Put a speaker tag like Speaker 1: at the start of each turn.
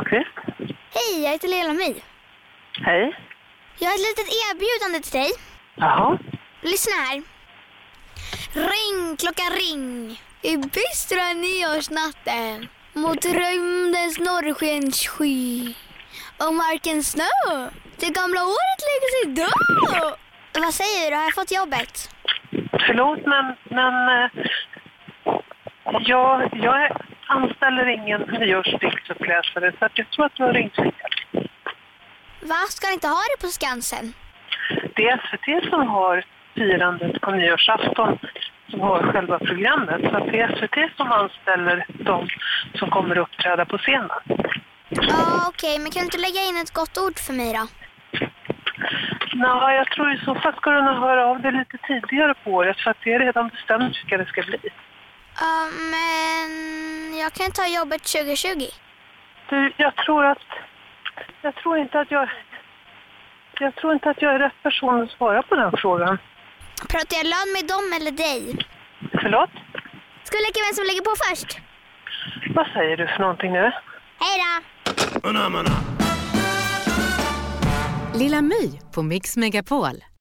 Speaker 1: Okej.
Speaker 2: Hej, jag heter Lela My.
Speaker 1: Hej.
Speaker 2: Jag har ett litet erbjudande till dig.
Speaker 1: Jaha.
Speaker 2: Lyssna här. Ring, klocka ring. I bistra nyårsnatten mot rymdens norrskenssky och markens snö. Det gamla året lägger sig då. Vad säger du? Har jag fått jobbet?
Speaker 1: Förlåt, men, men eh, jag, jag är- anställer ingen nyårsdiktsuppläsare så att jag tror att du har ringt fel.
Speaker 2: Va? Ska ni inte ha det på Skansen?
Speaker 1: Det är SVT som har firandet på nyårsafton som har själva programmet. Så att det är SVT som anställer de som kommer att uppträda på scenen.
Speaker 2: Ja, okej. Men kan du inte lägga in ett gott ord för mig då?
Speaker 1: Nej, jag tror i så fall ska du nog höra av dig lite tidigare på året för att det är redan bestämt vilka det ska bli.
Speaker 2: Ja, men jag kan ta jobbet 2020.
Speaker 1: Du, jag tror att... Jag tror inte att jag... Jag tror inte att jag är rätt person att svara på den frågan.
Speaker 2: Pratar jag lön med dem eller dig?
Speaker 1: Förlåt?
Speaker 2: Ska vi leka vem som lägger på först?
Speaker 1: Vad säger du för någonting nu?
Speaker 2: Hej då!
Speaker 3: Lilla My på Mix Megapol.